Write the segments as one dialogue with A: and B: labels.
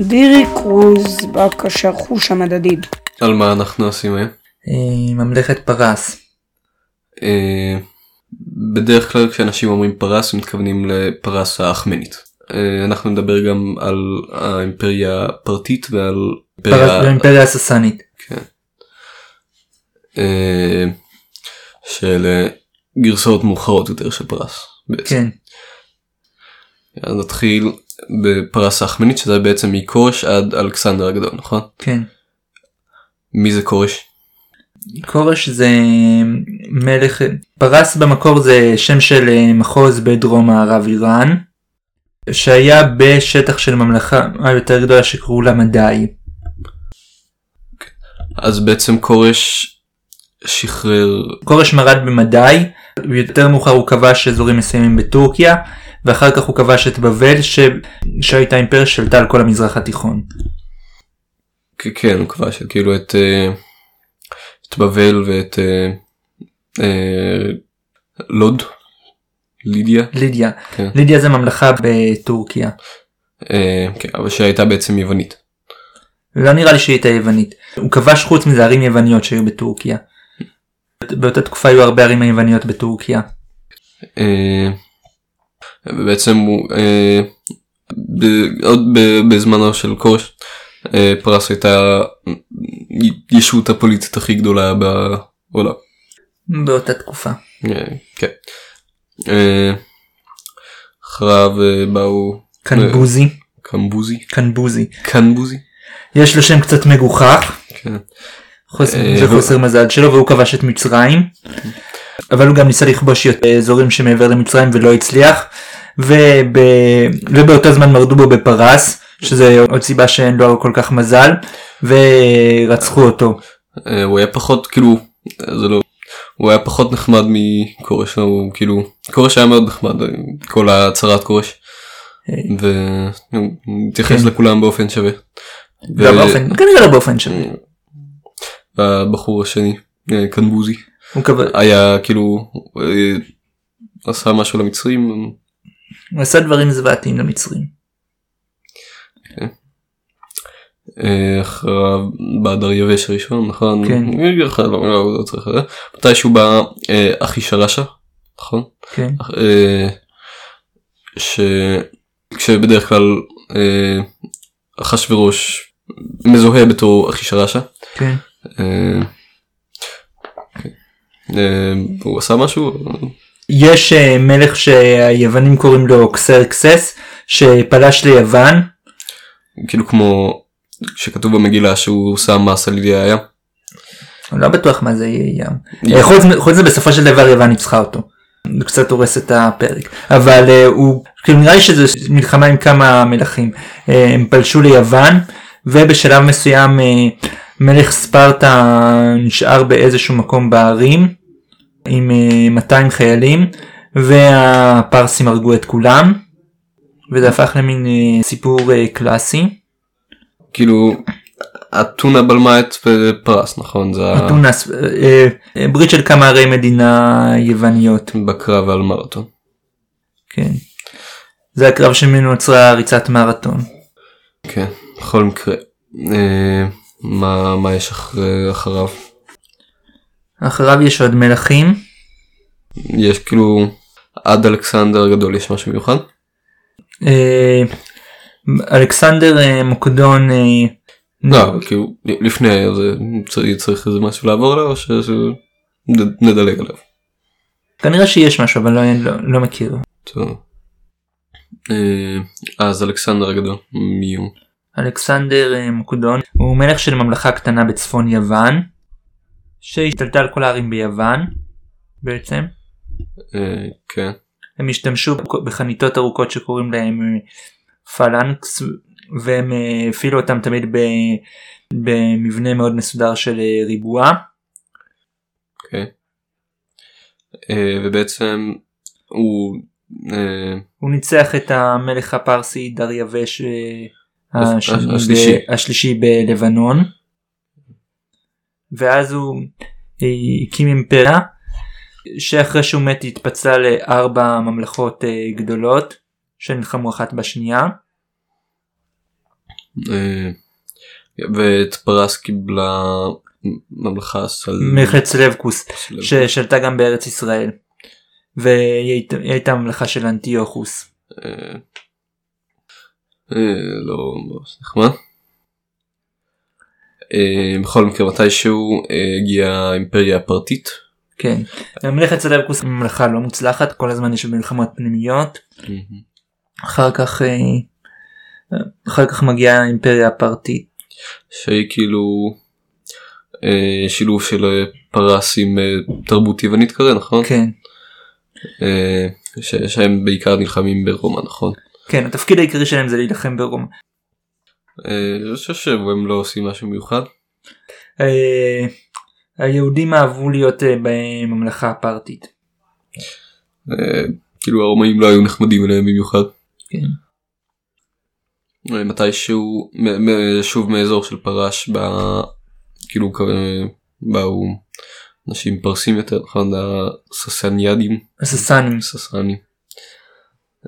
A: דירי קרוז, בבקשה, חוש המדדים.
B: על מה אנחנו עושים היום?
C: אה, ממלכת פרס.
B: אה, בדרך כלל כשאנשים אומרים פרס הם מתכוונים לפרס האחמנית. אה, אנחנו נדבר גם על האימפריה הפרטית ועל
C: פרס
B: אימפריה
C: באימפריה הססנית.
B: אה, של אה, גרסאות מאוחרות יותר של פרס. בעצם.
C: כן.
B: אז נתחיל בפרס האחמנית שזה בעצם מכורש עד אלכסנדר הגדול נכון?
C: כן.
B: מי זה כורש?
C: כורש זה מלך פרס במקור זה שם של אה, מחוז בדרום מערב איראן שהיה בשטח של ממלכה היותר גדולה שקראו לה מדי
B: אז בעצם כורש שחרר
C: כורש מרד במדי ויותר מאוחר הוא כבש אזורים מסוימים בטורקיה ואחר כך הוא כבש את בבל ש... שהייתה אימפריה שלטה על כל המזרח התיכון.
B: כ- כן הוא כבש כאילו את, אה, את בבל ואת אה, אה, לוד לידיה
C: לידיה.
B: כן.
C: לידיה זה ממלכה בטורקיה.
B: אה, כן, אבל שהייתה בעצם יוונית
C: לא נראה לי שהיא הייתה יוונית. הוא כבש חוץ מזה ערים יווניות שהיו בטורקיה. באותה תקופה היו הרבה ערים יווניות בטורקיה.
B: אה, ובעצם הוא אה, ב, עוד ב, בזמנו של כורש אה, פרס הייתה הישות הפוליטית הכי גדולה בעולם.
C: באותה תקופה.
B: אה, כן. אה, אחריו אה, באו
C: קנבוזי.
B: קמבוזי
C: קנבוזי.
B: קנבוזי
C: יש לו שם קצת מגוחך.
B: כן.
C: חוס-
B: אה,
C: זה
B: הוא-
C: חוסר מזל שלו והוא כבש את מצרים. אבל הוא גם ניסה לכבוש יות- אזורים שמעבר למצרים ולא הצליח. וב... ובאותו זמן מרדו בו בפרס. שזה עוד סיבה שאין לו כל כך מזל. ורצחו אותו.
B: אה, הוא היה פחות כאילו אה, זה לא הוא היה פחות נחמד מכורש הוא כאילו כורש היה מאוד נחמד אה, כל ההצהרת כורש
C: אה.
B: והוא התייחס
C: כן.
B: לכולם באופן שווה.
C: לא
B: ו-
C: באופן, כנראה לא באופן שווה.
B: והבחור השני אה, קנבוזי
C: הוא כבש...
B: היה כאילו אה, עשה משהו למצרים
C: הוא עשה דברים זוועתיים למצרים.
B: אה, אחריו באדר יבש הראשון נכון?
C: כן.
B: אה, אחריו, לא, לא, לא צריך אה. מתישהו בא אה, אחישרשה נכון?
C: כן.
B: אה, ש... כשבדרך כלל אה, אחשוורוש מזוהה בתור אחישרשה.
C: כן.
B: אה, כן. אה, הוא עשה משהו?
C: יש אה, מלך שהיוונים קוראים לו קסרקסס שפלש ליוון.
B: כאילו כמו שכתוב במגילה שהוא שם מס על ידי הים.
C: אני לא בטוח מה זה יהיה ים. אה, חוץ מ- חוץ מזה בסופו של דבר יוון ניצחה אותו. זה קצת הורס את הפרק. אבל אה, הוא, כאילו נראה לי שזו מלחמה עם כמה מלכים. אה, הם פלשו ליוון ובשלב מסוים אה, מלך ספרטה נשאר באיזשהו מקום בערים עם אה, 200 חיילים והפרסים הרגו את כולם. וזה הפך למין אה, סיפור אה, קלאסי.
B: כאילו אתונה בלמה את פרס נכון? זה ה-
C: אתונס, אה, אה, אה, ברית של כמה ערי מדינה יווניות.
B: בקרב על מרתון.
C: כן. זה הקרב שממנו נוצרה ריצת מרתון.
B: כן, בכל מקרה. אה, מה מה יש אחרי- אחריו?
C: אחריו יש עוד מלכים.
B: יש כאילו עד אלכסנדר הגדול יש משהו מיוחד
C: אה, אלכסנדר אה, מוקדון אה,
B: לא אבל כאילו לפני זה צריך- צריך איזה משהו לעבור עליו או שנדלג עליו.
C: כנראה שיש משהו אבל לא, לא, לא מכיר.
B: טוב. אה, אז אלכסנדר הגדול מי הוא?
C: אלכסנדר אה, מוקדון הוא מלך של ממלכה קטנה בצפון יוון שהשתלטה על כל הערים ביוון בעצם.
B: אה, כן
C: הם השתמשו בחניתות ארוכות שקוראים להם אה, פלנקס והם אה, הפעילו אותם תמיד ב, במבנה מאוד מסודר של אה, ריבוע.
B: אוקיי. אה, ובעצם הוא אה,
C: הוא ניצח את המלך הפרסי דריווש אה,
B: הש-
C: השני ב-
B: השלישי.
C: השלישי בלבנון. ואז הוא אה, הקים אימפריה שאחרי שהוא מת היא התפצלה לארבע ממלכות אה, גדולות שנלחמו אחת בשנייה.
B: אה, ואת פרס קיבלה ממלכה סל...
C: מלכת סלבקוס
B: סלב-
C: ששלטה גם בארץ ישראל. והיא הייתה- היא הייתה המלכה של אנטיוכוס.
B: אה, אה, לא ממש נחמד. אה, בכל מקרה מתישהו אה, הגיעה האימפריה הפרטית.
C: כן.
B: אה.
C: מלכת סלבקוס היא מלכה לא מוצלחת כל הזמן יש מלחמות פנימיות. אחר כך אה, אחר כך מגיעה האימפריה הפרטית.
B: שהיא כאילו אה, שילוב של אה, פרס עם אה, תרבות יוונית כזה נכון?
C: כן.
B: אה, ש- שהם בעיקר נלחמים ברומא נכון?
C: כן התפקיד העיקרי שלהם זה להילחם ברומא.
B: אה, אני חושב שהם לא עושים משהו מיוחד.
C: אה, היהודים אהבו להיות אה, בממלכה הפרטית.
B: אה, כאילו הרומאים לא היו נחמדים אליהם במיוחד.
C: כן.
B: אה, מתישהו מ- מ- שוב מאזור של פרש ב... כאילו כ- באו אנשים פרסים יותר נכון הססניאדים
C: הססנים.
B: ססנים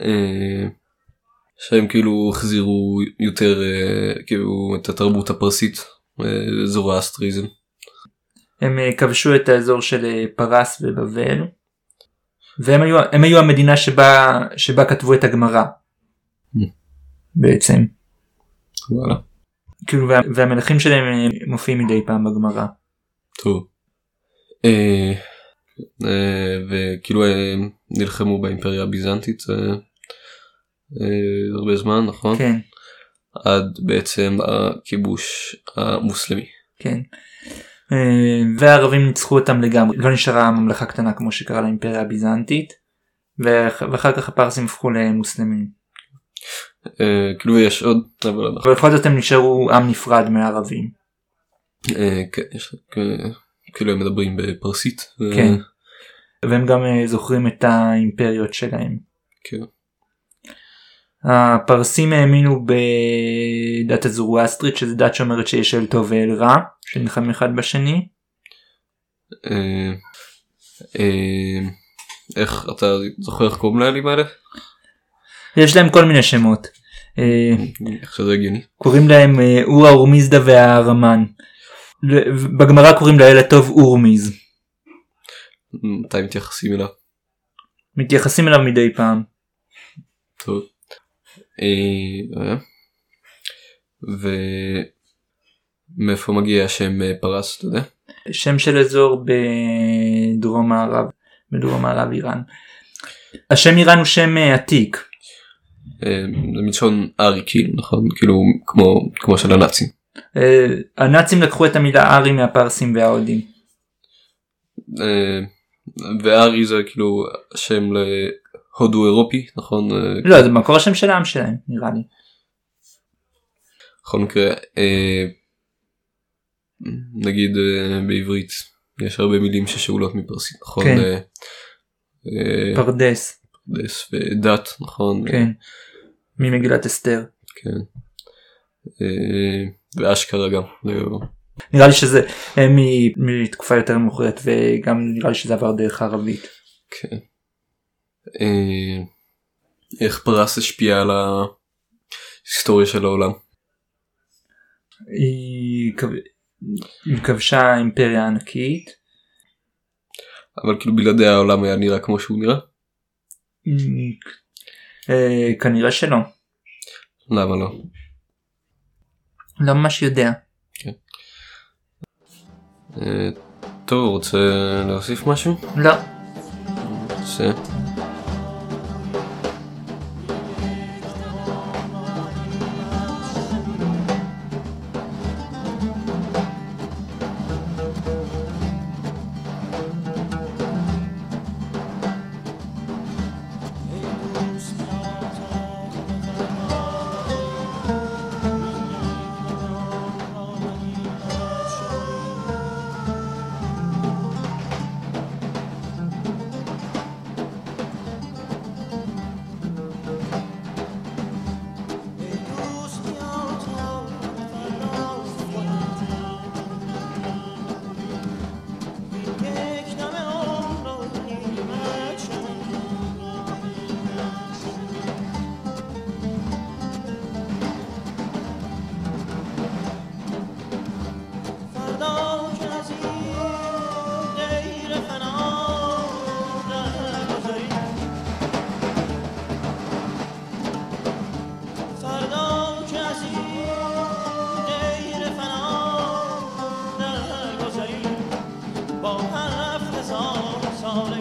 B: אה, שהם כאילו החזירו יותר אה, כאילו את התרבות הפרסית אה, זורואסטריזם
C: הם אה, כבשו את האזור של אה, פרס ובבל. והם היו, הם היו המדינה שבה, שבה כתבו את הגמרא. בעצם.
B: וואלה
C: כאילו וה, והמלכים שלהם אה, מופיעים מדי פעם בגמרא.
B: טוב. אה, אה, וכאילו אה, נלחמו באימפריה הביזנטית אה, אה, הרבה זמן נכון?
C: כן,
B: עד בעצם הכיבוש המוסלמי.
C: כן. אה, והערבים ניצחו אותם לגמרי. לא נשארה ממלכה קטנה כמו שקרה לאימפריה הביזנטית. ואח- ואחר כך הפרסים הפכו למוסלמים.
B: אה, כאילו יש עוד אבל אנחנו-
C: אבל בכל זאת הם נשארו עם נפרד מהערבים.
B: אה, כן, יש- אה, כאילו הם מדברים בפרסית. אה,
C: כן. והם גם אה, זוכרים את האימפריות שלהם.
B: כן.
C: הפרסים האמינו בדת הזורואסטרית שזה דת שאומרת שיש אל טוב ואל רע שנלחמים אחד בשני
B: אה, אה, איך אתה זוכר איך קוראים לאלים האלה?
C: יש להם כל מיני שמות אה,
B: איך שזה הגיוני. קוראים
C: קוראים להם אה, אור האורמיזדה והארמן ל- ו- בגמרא קוראים לאל הטוב אורמיז
B: מתי מתייחסים אליו.
C: מתייחסים אליו מדי פעם
B: טוב. אה, אה. ומאיפה מגיע השם אה, פרס אתה יודע?
C: שם של אזור בדרום מערב בדרום מערב איראן השם איראן הוא שם אה, עתיק
B: אה, זה מלשון ארי כאילו נכון כאילו כמו כמו של הנאצים.
C: אה, הנאצים לקחו את המילה ארי מהפרסים וההודים
B: אה, וארי זה כאילו שם להודו אירופי נכון אה,
C: לא זה מקור השם של העם שלהם נראה לי
B: בכל מקרה אה, נגיד אה, בעברית יש הרבה מילים ששאולות מפרסית נכון
C: כן.
B: אה, אה,
C: פרדס
B: פרדס ודת נכון
C: כן. ממגילת אסתר.
B: כן. אה, ואשכרה גם. לא,
C: נראה לי שזה אה, מ- מתקופה יותר מאוחרת וגם נראה לי שזה עבר דרך ערבית.
B: כן. אה, איך פרס השפיע על ההיסטוריה של העולם?
C: היא כב- היא כבשה אימפריה ענקית.
B: אבל כאילו בלעדיה העולם היה נראה כמו שהוא נראה?
C: אה, כנראה שלא.
B: למה לא?
C: לא ממש יודע.
B: אה, טוב, רוצה להוסיף משהו?
C: לא.
B: רוצה?
D: با هفت هزار ساله